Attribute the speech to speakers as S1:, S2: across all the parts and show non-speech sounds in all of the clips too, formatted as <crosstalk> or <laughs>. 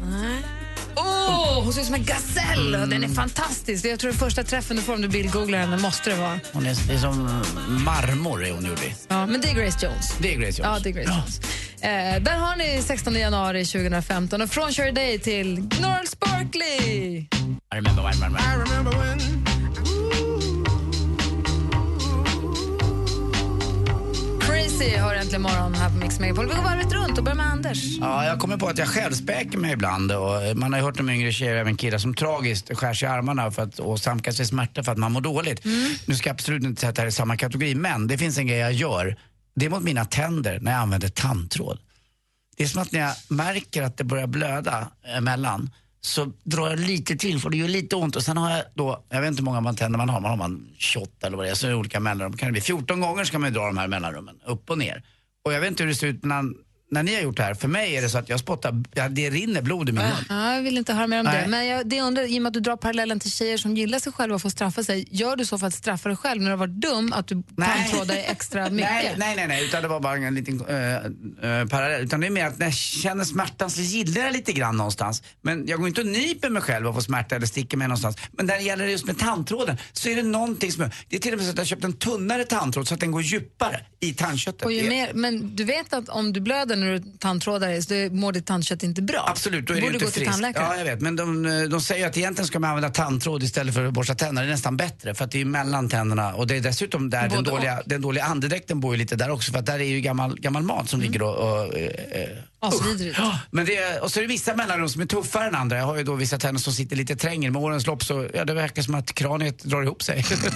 S1: Åh, hon ser ut som en gasell! och Den
S2: Mm.
S1: är fantastisk. Jag tror den första träffen du får om du bildgooglar henne måste det vara.
S2: hon är, det är som marmor är hon gjord i.
S1: Ja, men det är Grace Jones.
S2: Det är Grace Jones.
S1: Ja, det är Grace Jones. Eh, där har ni 16 januari 2015 och från Sure Day till Norrell Sparkley!
S2: I remember, I remember.
S3: I remember when.
S1: Crazy har äntligen morgon här på Mix Megapol. Vi går varvet runt och börjar med Anders.
S2: Ja, jag kommer på att jag självspäker mig ibland. Och man har ju hört om yngre tjejer och även killar som tragiskt skär sig i armarna för att åsamka sig smärta för att man mår dåligt. Nu ska jag absolut inte säga att det här är samma kategori, men det finns en grej jag gör. Det är mot mina tänder när jag använder tandtråd. Det är som att när jag märker att det börjar blöda emellan så drar jag lite till för det gör lite ont. Och sen har jag då, jag vet inte hur många antenner man har, man har man 28 eller vad det är, så är det olika mellanrum. Kan det bli 14 gånger ska man ju dra de här mellanrummen, upp och ner. Och jag vet inte hur det ser ut när, när ni har gjort det här. För mig är det så att jag spottar, ja, det rinner blod i min mun.
S1: Ja, jag vill inte höra mer om
S2: Nej.
S1: det. Men jag, det jag undrar, i och med att du drar parallellen till tjejer som gillar sig själva och får straffa sig, gör du så för att straffa dig själv när du har varit dum, att du tandtrådar dig <laughs> extra mycket?
S2: Nej, nej, nej, nej, utan det var bara en liten eh, eh, parallell. Utan det är mer att när jag känner smärtan så gillar jag lite grann någonstans. Men jag går inte och nyper mig själv och får smärta eller sticker mig någonstans. Men när det gäller just med tandtråden så är det någonting som... Det är till och med så att jag har köpt en tunnare tandtråd så att den går djupare i tandköttet.
S1: Och ju
S2: Det-
S1: mer, men du vet att om du blöder när du tandtrådar dig så det- mår ditt tandkött inte bra.
S2: Absolut, då är det
S1: Borde
S2: ju inte
S1: gå till
S2: friskt.
S1: tandläkare.
S2: Ja, jag vet. Men de, eh, de säger ju att egentligen ska man använda tandtråd istället för att borsta tänderna. Det är nästan bättre för att det är ju mellan tänderna och det är dessutom där den
S1: Både
S2: dåliga, den dåliga andedräkten bor ju lite där också för att där är ju gammal, gammal mat
S1: Mm.
S2: som ligger och... och eh, eh,
S1: Asvidrigt.
S2: Ja, men det är, och så är det vissa mellanrum som är tuffare än andra. Jag har ju då vissa tänder som sitter lite trängre. Med årens lopp så, ja det verkar som att kraniet drar ihop sig.
S1: Mm.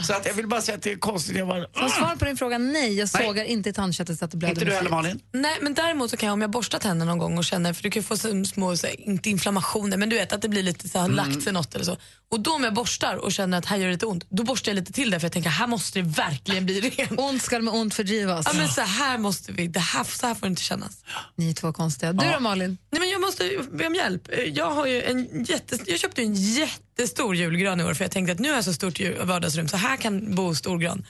S2: <laughs> så att jag vill bara säga att det är konstigt. Jag bara, "Ah,
S1: Som svar på din fråga, nej, jag sågar inte i tandköttet så att det blöder.
S2: Inte du
S1: med
S2: heller,
S1: flit.
S2: Malin?
S4: Nej, men däremot så kan jag om jag borstar tänderna någon gång och känner, för du kan ju få så små, så, här, inte inflammationer, men du vet att det blir lite så här,
S2: Mm.
S4: lagt sig något eller så. Och då om jag borstar och känner att här gör det lite ont, då borstar jag lite till där för jag tänker här måste det verkligen bli rent.
S1: Ont ska med ont fördrivas.
S4: Ja men så här måste vi, det här, så här får det inte kännas.
S1: Ni är två konstiga. Du
S4: Ja.
S1: då Malin?
S4: Nej men jag måste ju be om hjälp. Eh, Jag, har ju en jättes, jag köpte ju en jättestor julgran i år för jag tänkte att nu har jag så stort ju- vardagsrum så här kan bo stor gran.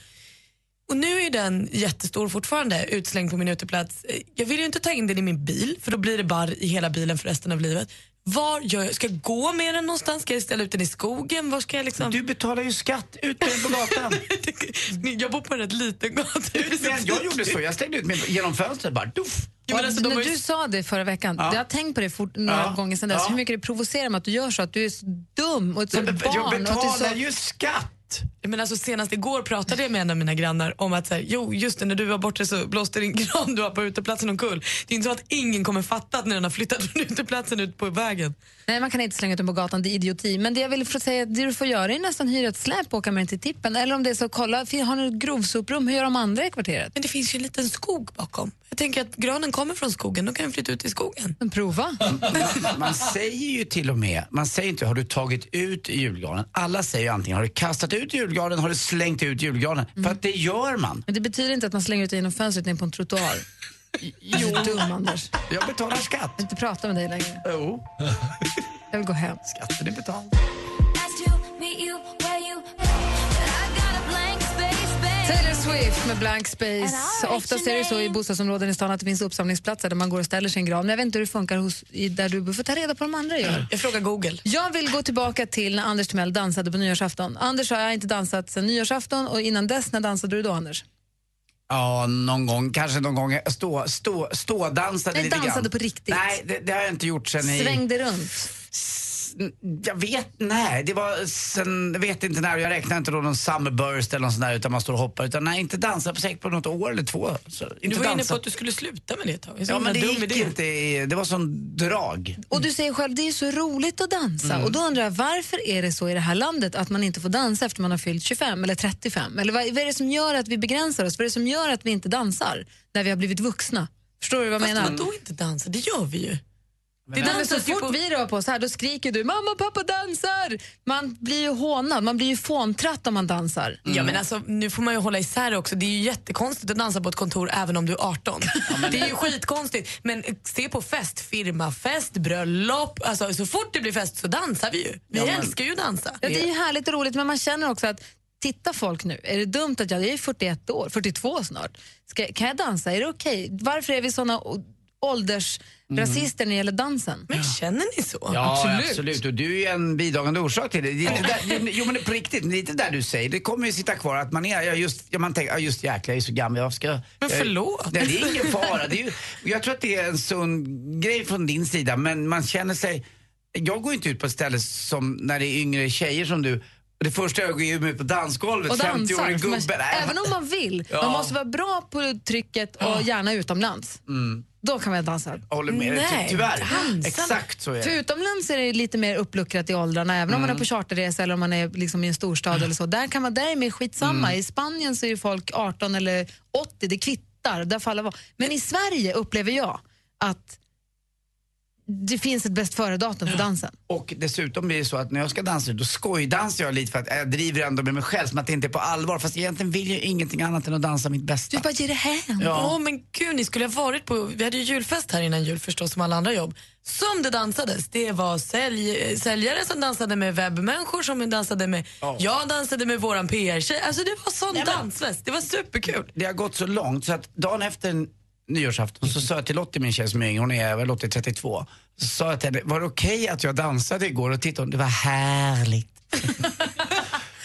S4: Och nu är ju den jättestor fortfarande, utslängd på min uteplats. Eh, Jag vill ju inte ta in den i min bil för då blir det barr i hela bilen för resten av livet. Var gör jag? Ska jag gå med den någonstans? Ska jag ställa ut den i skogen? Var ska jag liksom...
S2: Du betalar ju skatt ut med den på gatan.
S4: <laughs> jag bor på en rätt liten gata.
S2: Men jag gjorde så, jag slängde ut mig genom fönstret bara. Duff.
S1: Och
S4: alltså,
S1: när du sa det förra veckan,
S2: Ja.
S1: jag har tänkt på det fort, några
S2: Ja.
S1: gånger sedan dess,
S2: Ja.
S1: hur mycket det provocerar mig att du gör så, att du är så dum och ett
S4: Jag
S1: sånt
S4: be- jag
S1: barn. och att du är
S4: betalar
S1: så...
S4: ju
S2: skatt!
S4: Men alltså senast igår pratade jag med en av mina grannar om att så här, jo just det, när du var borta så blåste din <laughs> gran du har på uteplatsen omkull. Det är inte så att ingen kommer fatta att när den har flyttat <laughs> från uteplatsen ut på vägen.
S1: Nej, man kan inte slänga ut dem på gatan, det är idioti. Men det jag vill få säga, är att det du får göra är nästan hyra ett släp och åka med den till tippen. Eller om det är så, kolla, fin- har ni ett grovsoprum? Hur gör de andra i kvarteret?
S4: Men det finns ju en liten skog bakom. Jag tänker att granen kommer från skogen, då kan den flytta ut i skogen.
S1: Men prova.
S2: Man, man säger ju till och med, man säger inte har du tagit ut julgranen? Alla säger ju antingen har du kastat ut julgranen, har du slängt ut julgranen? För att det gör man.
S1: Men det betyder inte att man slänger ut det genom fönstret ner på en trottoar. Jo. Du är dum, Anders.
S2: Jag betalar skatt. Jag
S1: vill inte prata med dig längre.
S2: Jo.
S1: Jag vill gå hem.
S2: Skatten är betald.
S1: Taylor Swift med Blank Space. Oftast är det så i bostadsområden i stan att det finns uppsamlingsplatser där man går och ställer sin gran. Men jag vet inte hur det funkar hos, i, där du bor. får ta reda på vad de andra gör.
S4: Jag frågar Google.
S1: Jag vill gå tillbaka till när Anders Timell dansade på nyårsafton. Anders har jag inte dansat sedan nyårsafton och innan dess, när dansade du då Anders?
S2: Ja, någon gång, kanske någon gång stå, stå, stå dansade
S1: Nej,
S2: lite grann.
S1: dansade på riktigt.
S2: Nej, det, det har jag inte gjort sen i...
S1: Svängde runt.
S2: Jag vet, nej, det var sen, jag vet inte när, jag räknar inte då någon summerburst eller något sånt där utan man står och hoppar. Utan nej, inte dansa på säkert på något år eller två. Så, inte
S4: du var inne
S2: dansa.
S4: på att du skulle sluta med det ett tag. är så
S2: Ja, men det
S4: himla dum
S2: gick
S4: idé.
S2: inte, i- det var sån drag.
S1: Och du säger själv, det är ju så roligt att dansa.
S2: Mm.
S1: Och då undrar jag, varför är det så i det här landet att man inte får dansa efter man har fyllt 25 eller 35? Eller vad, vad är det som gör att vi begränsar oss? Vad är det som gör att vi inte dansar när vi har blivit vuxna? Förstår du vad jag
S4: Fast
S1: menar?
S4: vadå inte dansa? Det gör vi ju.
S1: Det är men så fort vi rör på oss här, då skriker du mamma och pappa dansar. Man blir ju hånad, man blir ju fåntratt om man dansar.
S4: Ja
S2: Mm.
S4: men alltså nu får man ju hålla isär också. Det är ju jättekonstigt att dansa på ett kontor även om du är
S2: <laughs>
S4: 18. Det är ju skitkonstigt. Men se på fest, firmafest, bröllop. Alltså så fort det blir fest så dansar vi ju. Vi
S1: Ja, men-
S4: älskar ju att dansa.
S1: Ja, det är ju härligt och roligt, men man känner också att titta folk nu, är det dumt att jag, jag är 41 år, 42 snart, Ska, kan jag dansa? Är det okej? Varför är vi såna o- åldersrasister när det gäller dansen?
S4: Men känner ni så?
S2: Ja, absolut. Och du är ju en bidragande orsak till det. det, är inte där, det jo, men det är på riktigt, det är inte där du säger. Det kommer ju sitta kvar att man är, ja, just, ja, man tänker, ja, just jäklar, jag är så gammal, jag ska...
S4: Men
S2: jag-
S4: förlåt.
S2: Nej, det är ingen fara. Det är ju, jag tror att det är en sund grej från din sida, men man känner sig... Jag går inte ut på ett ställe som när det är yngre tjejer som du, det första jag går ju ut på dansgolvet,
S1: Och
S2: 50-årig
S1: dansar, för
S2: gubbe.
S1: man,
S2: Nej,
S1: även om man vill.
S2: Ja.
S1: Man måste vara bra på trycket och gärna utomlands.
S2: Mm.
S1: Då kan man dansa.
S2: Jag håller med dig,
S1: Nej,
S2: ty- tyvärr.
S1: dansarna.
S2: Exakt så är
S1: För
S2: det.
S1: utomlands är det ju lite mer uppluckrat i åldrarna, även om
S2: Mm.
S1: man är på charterresa eller om man är liksom i en storstad eller så. Där kan man, där är det mer skitsamma.
S2: Mm.
S1: I Spanien så är ju folk 18 eller 80, det kvittar. Där faller var. Men i Sverige upplever jag att det finns ett bäst före-datum för dansen.
S2: Och dessutom blir det så att när jag ska dansa då skojdansar jag lite för att jag driver ändå med mig själv som att det inte är på allvar. Fast egentligen vill jag ingenting annat än att dansa mitt bästa.
S1: Du bara ger det hem.
S2: Ja.
S4: Åh men gud, ni skulle ha varit på, vi hade ju julfest här innan jul förstås som alla andra jobb. Som det dansades. Det var sälj, eh, säljare som dansade med webbmänniskor som dansade med, jag dansade med våran PR-tjej. Alltså det var sån dansfest, det var superkul.
S2: Det har gått så långt så att dagen efter nyårsafton så sa jag till Lottie, min tjej som är yngre, hon är väl Lottie 32. Så sa jag till henne, var det okej att jag dansade igår? Och tittade hon, det var
S1: <laughs>
S2: härligt.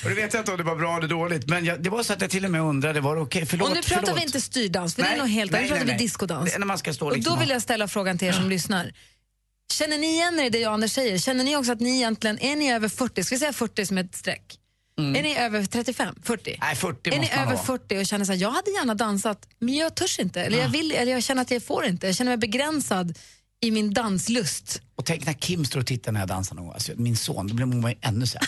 S2: och det vet jag inte om det var bra eller dåligt. Men jag, det var så att jag till och med undrade, var det okej? Förlåt,
S1: och nu pratar
S2: förlåt.
S1: vi inte styrdans, för det är
S2: Nej,
S1: nog helt
S2: nej,
S1: annat. Nu pratar
S2: nej,
S1: vi
S2: nej.
S1: diskodans.
S2: Det är när man ska stå
S1: och
S2: liksom
S1: då vill
S2: och-
S1: jag ställa frågan till er som lyssnar. Känner ni igen er i det jag och Anders säger? Känner ni också att ni egentligen, är ni över 40, ska vi säga 40 som ett streck?
S2: Mm.
S1: Är ni över 35, 40?
S2: Nej, 40
S1: är ni
S2: måste man
S1: över
S2: vara.
S1: 40 och känner så här, jag hade gärna dansat, men jag törs inte. Eller
S2: Ah.
S1: jag, vill, eller jag känner att jag får inte. Jag känner mig begränsad i min danslust.
S2: Och tänk när Kim står och tittar när jag dansar någon gång. Alltså, min son, då blir man ju ännu sämre.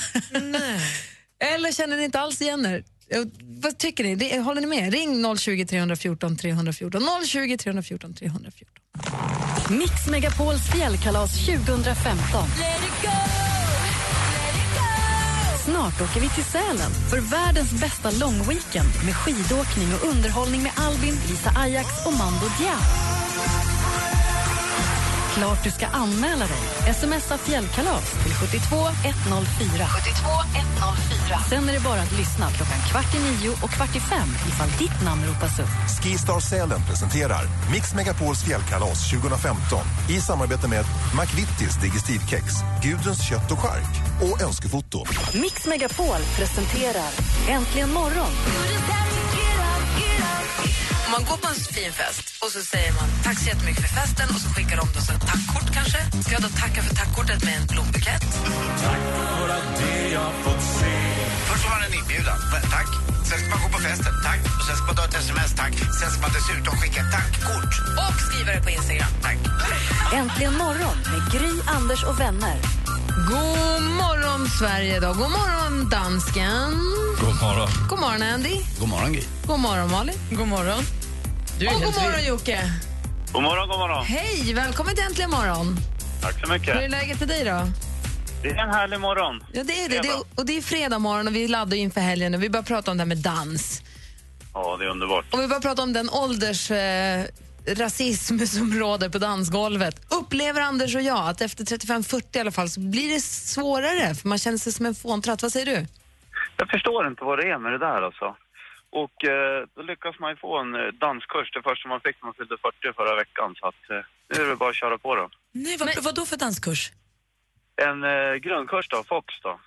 S1: Eller känner ni inte alls igen er? Eh, Vad tycker ni? Det- Håller ni med? Ring 020 314 314. 020 314 314.
S5: Mix Megapols fjällkalas 2015. Snart åker vi till Sälen för världens bästa långweekend med skidåkning och underhållning med Albin, Lisa Ajax och Mando Diao. Klart du ska anmäla dig. Smsa fjällkalas till 72 104. 72 104. Sen är det bara att lyssna klockan kvart i nio och kvart i fem ifall ditt namn ropas upp.
S6: Skistar Sälen presenterar Mix Megapols fjällkalas 2015 i samarbete med McVittys Digestivkex, Gudruns kött och skark och Önskefoto.
S5: Mix Megapol presenterar Äntligen morgon
S7: Om man går på en fin fest och så säger man tack så jättemycket för festen och så skickar de då så ett tackkort kanske. Ska jag då tacka för tackkortet med en blombukett?
S8: Först får man en inbjudan. Va- Tack. Sen ska man gå på festen. Tack. Och sen ska man ta ett sms. Tack. Sen ska man dessutom skicka ett tackkort.
S7: Och skriva det på Instagram.
S8: Tack.
S5: Äntligen morgon med Gry, Anders och vänner.
S1: God morgon, Sverige. Då. God morgon, dansken.
S9: God morgon.
S1: God morgon, Andy.
S2: <laughs> God morgon, Gry.
S1: God morgon, Malin.
S4: God morgon. Du
S1: Och god morgon, Jocke.
S10: God morgon, god morgon.
S1: Hej, välkommen till Äntligen morgon.
S10: Tack så
S1: Hur är
S10: mycket.
S1: läget för dig? då?
S10: Det är en härlig morgon.
S1: Ja, det är det. det
S10: bra.
S1: är, och det är fredag morgon och vi laddar ju inför helgen och vi börjar prata om det här med dans.
S10: Ja, det är underbart.
S1: Och vi börjar prata om den ålders... Eh, rasism <laughs> som råder på dansgolvet. Upplever Anders och jag att efter 35-40 i alla fall så blir det svårare för man känner sig som en fåntratt. Vad säger du?
S10: Jag förstår inte vad det är med det där alltså. Och eh, då lyckas man ju få en eh, danskurs, det första man fick när man fyllde 40 förra veckan. Så att eh, nu är det bara att köra på då.
S4: Nej, vad, vad då för danskurs?
S10: En eh, grundkurs då, Fox då.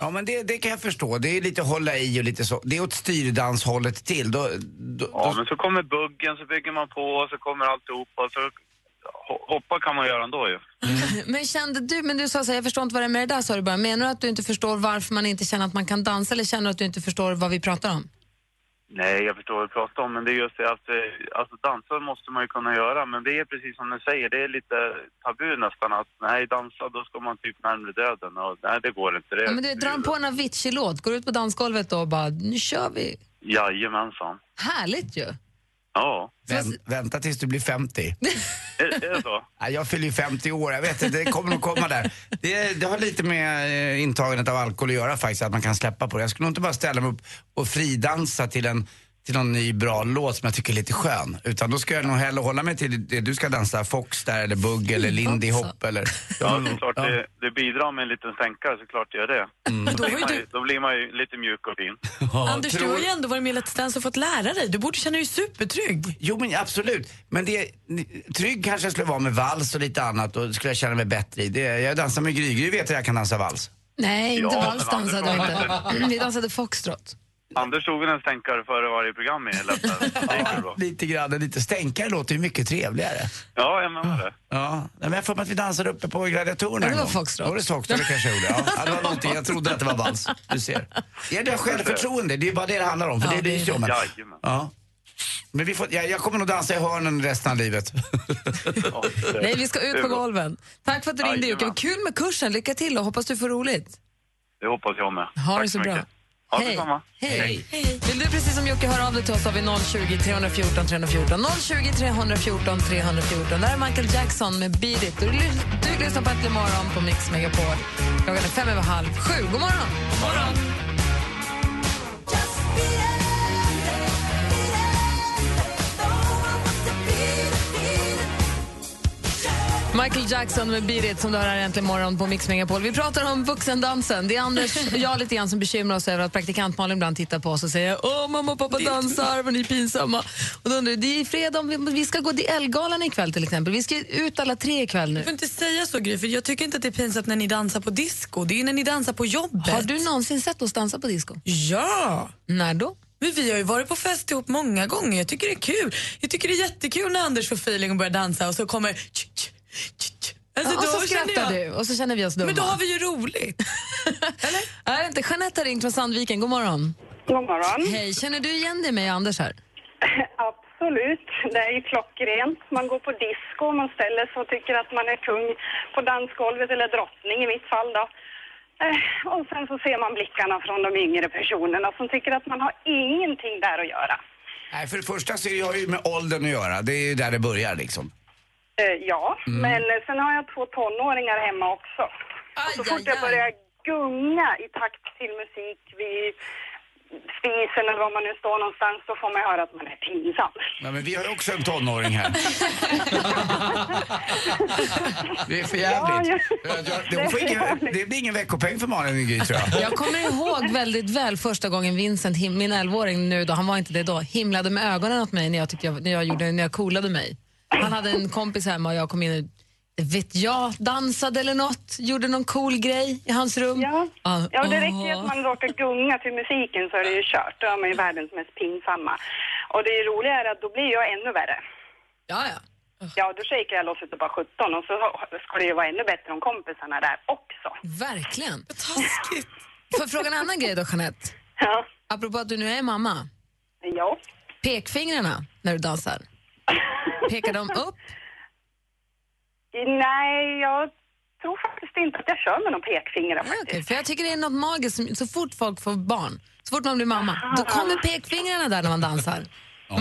S2: Ja, men det, det kan jag förstå. Det är lite hålla i och lite så. Det är åt styrdanshållet till. Då, då,
S10: Ja, men så kommer buggen, så bygger man på, och så kommer alltihopa. Så ho- hoppa kan man göra ändå ju.
S1: Men kände du, men du sa så här, jag förstår inte vad det är med det där, sa du bara. Menar du att du inte förstår varför man inte känner att man kan dansa eller känner du att du inte förstår vad vi pratar om?
S10: Nej, jag förstår vad du pratar om, men det är just det att eh, alltså, dansa måste man ju kunna göra. Men det är precis som du säger, det är lite tabu nästan att nej, dansa då ska man typ närmare döden. Och, nej, det går inte. Det.
S1: Ja, men du, drar på en Avicii-låt, går ut på dansgolvet då och bara, nu kör vi.
S10: Jajamensan.
S1: Härligt ju.
S10: Ja.
S2: Vänt, vänta tills du blir 50.
S10: är, är det så?
S2: Ja, jag fyller ju 50 år, jag vet inte, det kommer nog komma där. Det, det har lite med eh, intagandet av alkohol att göra faktiskt, att man kan släppa på det. Jag skulle nog inte bara ställa mig upp och fridansa till en till någon ny bra låt som jag tycker är lite skön. Utan då ska jag nog hellre hålla mig till det du ska dansa, Fox där eller Bugg eller Lindy Hop eller...
S10: Ja, det är klart det, det bidrar med en liten sänkare, så klart det gör det. Då, blir man ju, då blir man ju lite mjuk och fin.
S4: Anders, du har ju ändå varit med i Let's Dance och fått lära dig. Du borde känna dig supertrygg.
S2: Jo men absolut, men det, trygg kanske jag skulle vara med vals och lite annat och skulle jag känna mig bättre i. Det, jag dansar med Gry, Gry vet att jag kan dansa vals.
S1: Nej, inte
S2: Ja,
S1: vals
S2: men Anders
S1: dansade jag
S2: var
S1: inte.
S2: inte-
S1: Vi dansade foxtrot.
S10: Anders tog väl en sänkare före varje program i
S1: <laughs>
S10: lättare. Det gick ju bra.
S2: Lite grann, lite stänkare låter ju mycket trevligare.
S10: Ja, jag menar det.
S2: Ja, nej, men jag får mig att vi dansade uppe på
S10: Ja, det
S2: gladiatorerna en
S10: var
S2: gång.
S10: foxtrot.
S2: Var det foxtrot det kanske jag
S10: <laughs>
S2: gjorde? Ja, Ja, det var någonting. Jag trodde att det var vals. Du ser. Ja, det är självförtroende, det är bara det det handlar om. För
S10: Ja,
S2: det är det
S10: det är
S2: ju om.
S10: det.
S2: att-
S10: Jajamän.
S2: Ja. Men vi får, jag, jag kommer nog dansa i hörnen resten
S10: <laughs>
S2: av livet.
S1: Nej, vi ska ut på golven. Tack för att du ringde Jocke.
S2: Jajamän.
S1: Kul med kursen, lycka till och hoppas du får roligt.
S10: Det hoppas jag med.
S1: Ha det
S10: Tack
S1: så bra.
S10: mycket. Ha
S1: Hej.
S10: detsamma.
S1: Hej. Vill du precis som Jocke höra av dig till oss har vi 020 314 314. 020 314 314. Där är Michael Jackson med Beat it. Du, lys- du lyssnar på Äntligen morgon på Mix Megapol. Klockan är fem över halv sju. God morgon!
S10: morgon.
S1: Michael Jackson med Beat It som du hör här äntligen morgon på Mix Megapol. Vi pratar om vuxendansen. Det är Anders
S4: <laughs>
S1: och jag lite grann som bekymrar oss över att praktikant Malin ibland tittar på oss och säger Åh, mamma och pappa dansar, vad ni är pinsamma. Och då undrar jag, det är fredag, om vi- vi ska gå till Ellegalan ikväll till exempel. Vi ska ut alla tre ikväll
S4: Du
S1: nu.
S4: får inte säga så, Gry, för jag tycker inte att det är pinsamt när ni dansar på disco. Det är när ni dansar på jobbet.
S1: Har du någonsin sett oss dansa på disco?
S4: Ja!
S1: När då?
S4: Men vi har ju varit på fest ihop många gånger. Jag tycker det är kul. Jag tycker det är jättekul när Anders får feeling och börjar dansa och så kommer... tsk, tsk, tsk, tsk. Alltså,
S1: Ja, och
S4: då
S1: så
S4: känner
S1: skrattar
S4: jag-
S1: du och så känner vi oss dumma.
S4: Men då har vi ju roligt.
S1: Är det inte? Jeanette har ringt från Sandviken. God morgon.
S9: God morgon.
S1: Hej, känner du igen dig med Anders här?
S9: Absolut, det är ju klockrent. Man går på disco och man ställer sig och tycker att man är kung på dansgolvet, eller drottning i mitt fall då. Eh, Och sen så ser man blickarna från de yngre personerna som tycker att man har ingenting där att göra.
S2: Nej, för det första så är jag ju med åldern att göra. Det är ju där det börjar liksom.
S9: <laughs> Eh, Ja,
S2: Mm.
S9: men sen har jag två tonåringar hemma också. och så fort jag börjar gunga i takt till musik vid spisen eller var man nu står någonstans, då får man höra att man är pinsam.
S2: Ja, men vi har ju också en tonåring här. det är för jävligt.
S9: Ja,
S2: Jag- jag- Det,
S9: <laughs>
S2: får ingen, det blir ingen veckopeng för Malin Gry, tror jag.
S1: Jag kommer ihåg väldigt väl första gången Vincent, him- min 11-åring nu då, han var inte det då, himlade med ögonen åt mig när jag, tyckte jag, när jag, gjorde, när jag coolade mig. Han hade en kompis hemma och jag kom in och, vet jag, dansade eller något, gjorde någon cool grej i hans rum. Ja,
S9: Ja, och det räcker ju att
S1: ah.
S9: man råkar gunga till musiken så är det ju kört. Då är man ju världens mest pinsamma. Och det roliga är att då blir jag ännu värre.
S1: Ja, ja.
S9: Ja, då shakar jag loss utav bara 17 och så ska det ju vara ännu bättre om kompisarna är där också.
S1: Verkligen. Taskigt. Får jag fråga en annan grej då, Jeanette?
S9: Ja.
S1: Apropå att du nu är mamma.
S9: Ja.
S1: Pekfingrarna när du dansar, pekar de upp?
S9: Nej, Eh, jag tror faktiskt inte att jag kör med någon pekfingrar faktiskt.
S1: Okej, för jag tycker det är något magiskt, som- så fort folk får barn, så fort man blir mamma, då kommer pekfingrarna där när man dansar.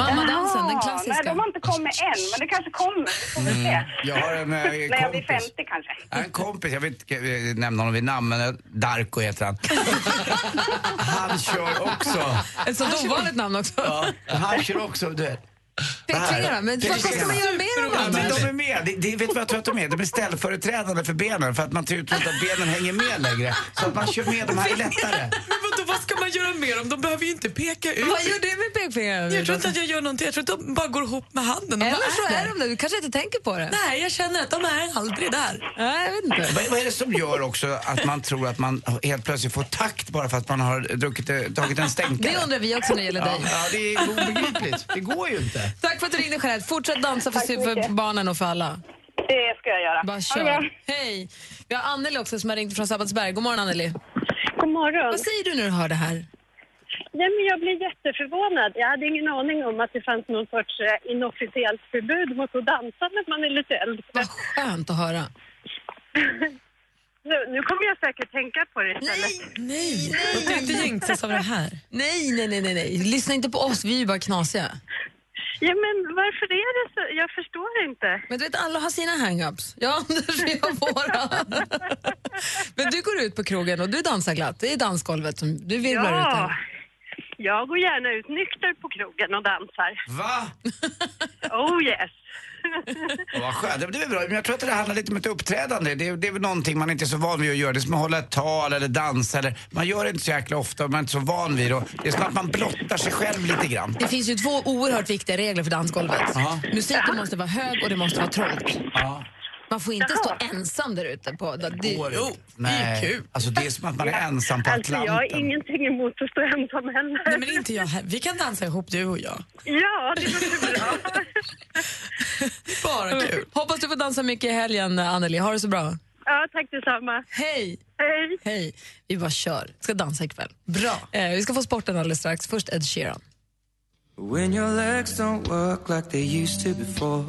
S1: Mammadansen, den
S9: Jaha, Nej,
S1: klassiska.
S9: de har inte kommit än, men det kanske kommer. Vi får väl se.
S2: Mm. Jag har en eh,
S9: När jag blir
S2: kompis.
S9: 50 kanske.
S2: Jag har En kompis, jag vill inte eh, nämna honom vid namn, men eh, Darko heter han. Han kör också.
S1: Ett sånt ovanligt namn också.
S2: Ja, han kör också, du vet.
S1: Pekfingrarna, men vad ska man göra med dem
S2: Ja, men
S1: annars?
S2: de är med. Det, det, vet du vad jag tror att de är? De är ställföreträdande för benen för att man tror inte att benen hänger med längre. Så att man kör med de här lättare.
S4: Men vadå, vad ska man göra med dem? De behöver ju inte peka ut.
S1: Vad gör du med pekfingrarna?
S4: Jag tror inte att jag gör någonting. Jag tror att de bara går ihop med handen. De
S1: Eller
S4: bara
S1: så är
S4: där.
S1: de det, du kanske inte tänker på det.
S4: Nej, jag känner att de är aldrig där.
S1: Nej, jag vet inte.
S2: Vad, vad är det som gör också att man tror att man helt plötsligt får takt bara för att man har druckit, eh, tagit en stänkare?
S1: Det undrar vi också när det gäller
S2: ja,
S1: dig.
S2: Ja, det
S1: <laughs>
S2: är obegripligt. Det går ju inte.
S1: Tack för att du ringde Jeanette. Fortsätt dansa för,
S9: Tack så
S1: för
S9: mycket.
S1: barnen och för alla.
S9: Det ska jag göra.
S1: Bara
S9: Ha det bra.
S1: kör. Hej. Vi har Anneli också som har ringt från Sabbatsberg. God morgon Anneli.
S11: God morgon.
S1: Vad säger du när du hör det här?
S11: Nej, men jag blir jätteförvånad. Jag hade ingen aning om att det fanns någon sorts eh, inofficiellt förbud mot att dansa när man är lite äldre.
S1: Skönt att höra.
S11: Nu, nu kommer jag säkert tänka på det istället.
S4: Nej, nej, nej. inte jinxas av det här.
S1: Nej, nej, nej, nej, nej. Lyssna inte på oss, vi är ju bara knasiga.
S11: Ja, men varför är det så? Jag förstår inte.
S1: Men du vet, alla har sina hang-ups. Jag och <laughs> Anders, jag har våra. Men du går ut på krogen och du dansar glatt. Det är dansgolvet som du virvlar ut
S11: Ja,
S1: här.
S11: jag går gärna ut nykter på krogen och dansar.
S2: Va?
S11: Oh yes.
S2: Oh, vad skönt. Det blir bra. Men jag tror att det där handlar lite om ett uppträdande. Det, är- det är väl någonting man inte är så van vid att göra. Det är som att hålla ett tal eller dansa. Eller, man gör det inte så jäkla ofta och man är inte så van vid det. Och Det är som att man blottar sig själv lite grann.
S1: Det finns ju två oerhört viktiga regler för dansgolvet.
S2: Ja.
S1: Musiken måste vara hög och det måste vara trångt.
S2: Ja.
S1: Man får inte stå ensam där ute. På, det,
S2: Jo, Nej. Alltså det är som att man är ensam på
S11: Alltså, jag har
S2: Atlanten.
S11: ingenting emot att stå ensam heller.
S4: Nej, Alltså, men inte jag här. Vi kan dansa ihop, du och jag.
S11: Ja, det låter bra.
S4: Bara kul.
S1: Hoppas du får dansa mycket i helgen, Anneli. Ha det så bra.
S11: Ja, tack detsamma.
S1: Hej!
S11: Hej!
S1: Hej. Vi bara kör. Ska dansa ikväll. Bra. Eh, vi ska få sporten alldeles strax. Först Ed Sheeran.
S12: When your legs don't work like they used to before.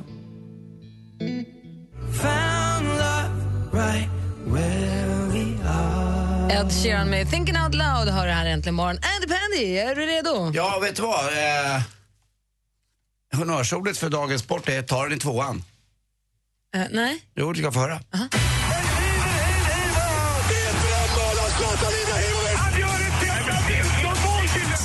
S12: Found love right where we are.
S1: Ed Sheeran med Thinking Out Loud hör det här äntligen morgon. Andy Pandy, är du redo?
S2: Ja, vet du vad? Eh, honnörsordet för dagens sport är ta den i tvåan.
S1: Eh, nej?
S2: Jo, du ska få höra.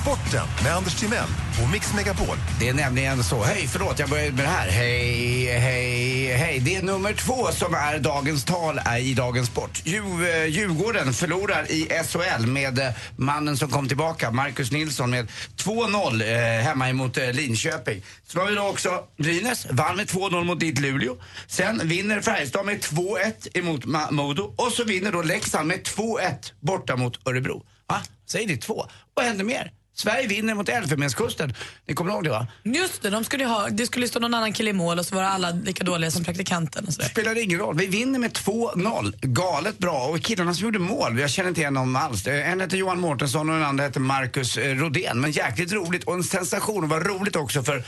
S6: Sporten med Anders Timell och Mix Megapol.
S2: Det är nämligen så. Hej, förlåt, jag började med det här. Hej, hej, hej. Det är nummer två som är dagens tal är i dagens sport. Dju- eh, Djurgården förlorar i SHL med eh, mannen som kom tillbaka, Marcus Nilsson, med 2-0 eh, hemma emot eh, Linköping. Så har vi då också Brynäs, vann med 2-0 mot ditt Luleå. Sen vinner Färjestad med 2-1 emot Ma- Modo. Och så vinner då Leksand med 2-1 borta mot Örebro. Va? Säg det, två. Vad händer mer? Sverige vinner mot Elfenbenskusten. Ni kommer ihåg det va?
S4: Just det, de skulle ju ha, det skulle stå någon annan kille i mål och så var alla lika dåliga som praktikanten. Och sådär.
S2: Spelar ingen roll. Vi vinner med 2-0. Galet bra. Och killarna som gjorde mål, jag känner inte igen dem alls. Eh, En heter Johan Mårtensson och den andra heter Marcus eh, Rodén. Men jäkligt roligt och en sensation. Och var roligt också för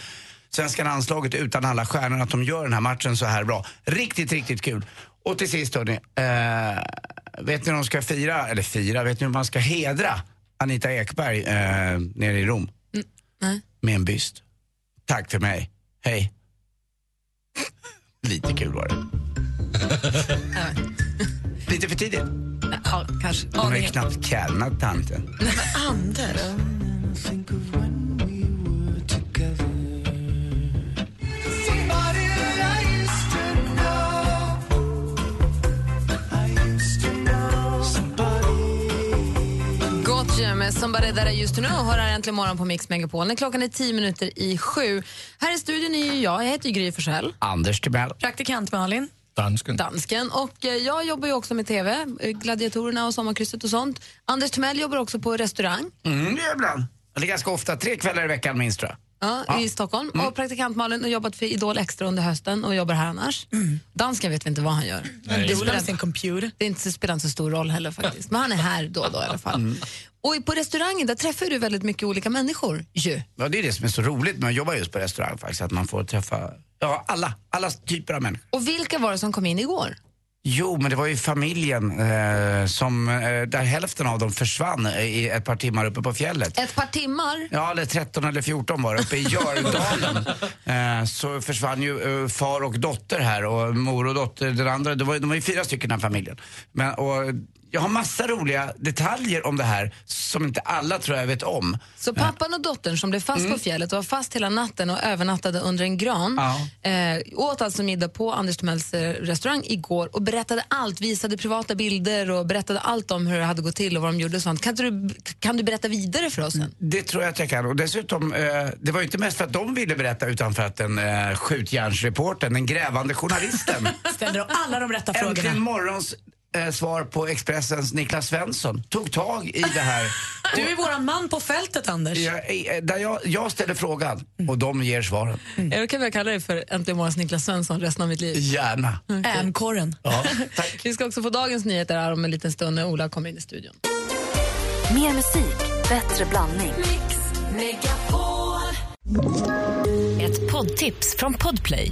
S2: svenska landslaget utan alla stjärnor att de gör den här matchen så här bra. Riktigt, riktigt kul. Och till sist hörni, eh, vet ni hur de ska fira, eller fira, vet ni hur man ska hedra Anita Ekberg eh, nere i Rom?
S1: nej.
S2: Med en byst. Tack för mig. Hej. Lite kul var det. <laughs> Lite för tidigt.
S1: Ja, kanske.
S2: Hon har ju knappt kärnat tanten.
S4: Nej, men Anders.
S1: Gotcha med Somebody That I Used To Know hör här äntligen morgon på Mix Megapol. När Klockan är tio minuter i sju. Här i studion är ju jag, jag heter ju Gry Forssell.
S2: Anders Timell.
S1: Praktikant Malin.
S13: Dansken.
S1: Dansken. Och eh, jag jobbar ju också med TV, eh, Gladiatorerna och Sommarkrysset och sånt. Anders Timell jobbar också på restaurang
S2: Mm, det är ibland. Eller ganska ofta. Tre kvällar i veckan minst tror jag.
S1: ja,
S2: Ja.
S1: i Stockholm. Och praktikant Malin har jobbat för Idol Extra under hösten och jobbar här annars. Dansken vet vi inte vad han gör.
S4: Nej.
S1: Det
S4: Dolar
S1: spelar,
S4: sin computer.
S1: det är inte, spelar inte så stor roll heller faktiskt. Men han är här då och då i alla fall. Och på restaurangen där träffar du väldigt mycket olika människor ju.
S2: Ja, det är det som är så roligt med att jobba just på restaurang faktiskt. Att man får träffa ja, alla, alla typer av människor.
S1: Och vilka var det som kom in igår?
S2: Jo, men det var ju familjen eh, som, eh, där hälften av dem försvann eh, i ett par timmar uppe på fjället.
S1: Ett par timmar?
S2: Ja, eller 13 eller 14 var det. Uppe i Jördalen eh, så försvann ju eh, far och dotter här och mor och dotter, den andra, det var, ju- de var ju fyra stycken i den här familjen. Men, och, jag har massa roliga detaljer om det här som inte alla tror jag vet om.
S1: Så pappan och dottern som blev fast på fjället och var fast hela natten och övernattade under en gran eh, åt alltså middag på Anders Timells eh, restaurang igår och berättade allt, visade privata bilder och berättade allt om hur det hade gått till och vad de gjorde och sånt. Kan, inte du, kan du berätta vidare för oss sen?
S2: Det tror jag att jag kan. Och dessutom, eh, det var ju inte mest för att de ville berätta utan för att den eh, skjutjärnsreportern, den grävande journalisten,
S4: Ställer de alla de rätta frågorna.
S2: <laughs> äntligen morgons eh, svar på Expressens Niklas Svensson, tog tag i det här.
S4: Du är våran man på fältet, Anders.
S2: Jag, eh, där jag, jag ställer frågan och de ger svaren.
S1: Mm. Jag kan väl kalla dig för Äntligen morgons Niklas Svensson resten av mitt liv.
S2: Gärna.
S1: Mm.
S4: Ämkorren.
S2: Ja.
S1: Vi ska också få dagens nyheter här om en liten stund när Ola kommer in i studion.
S14: Mer musik, bättre blandning. Mix Megapol.
S15: Ett poddtips från Podplay.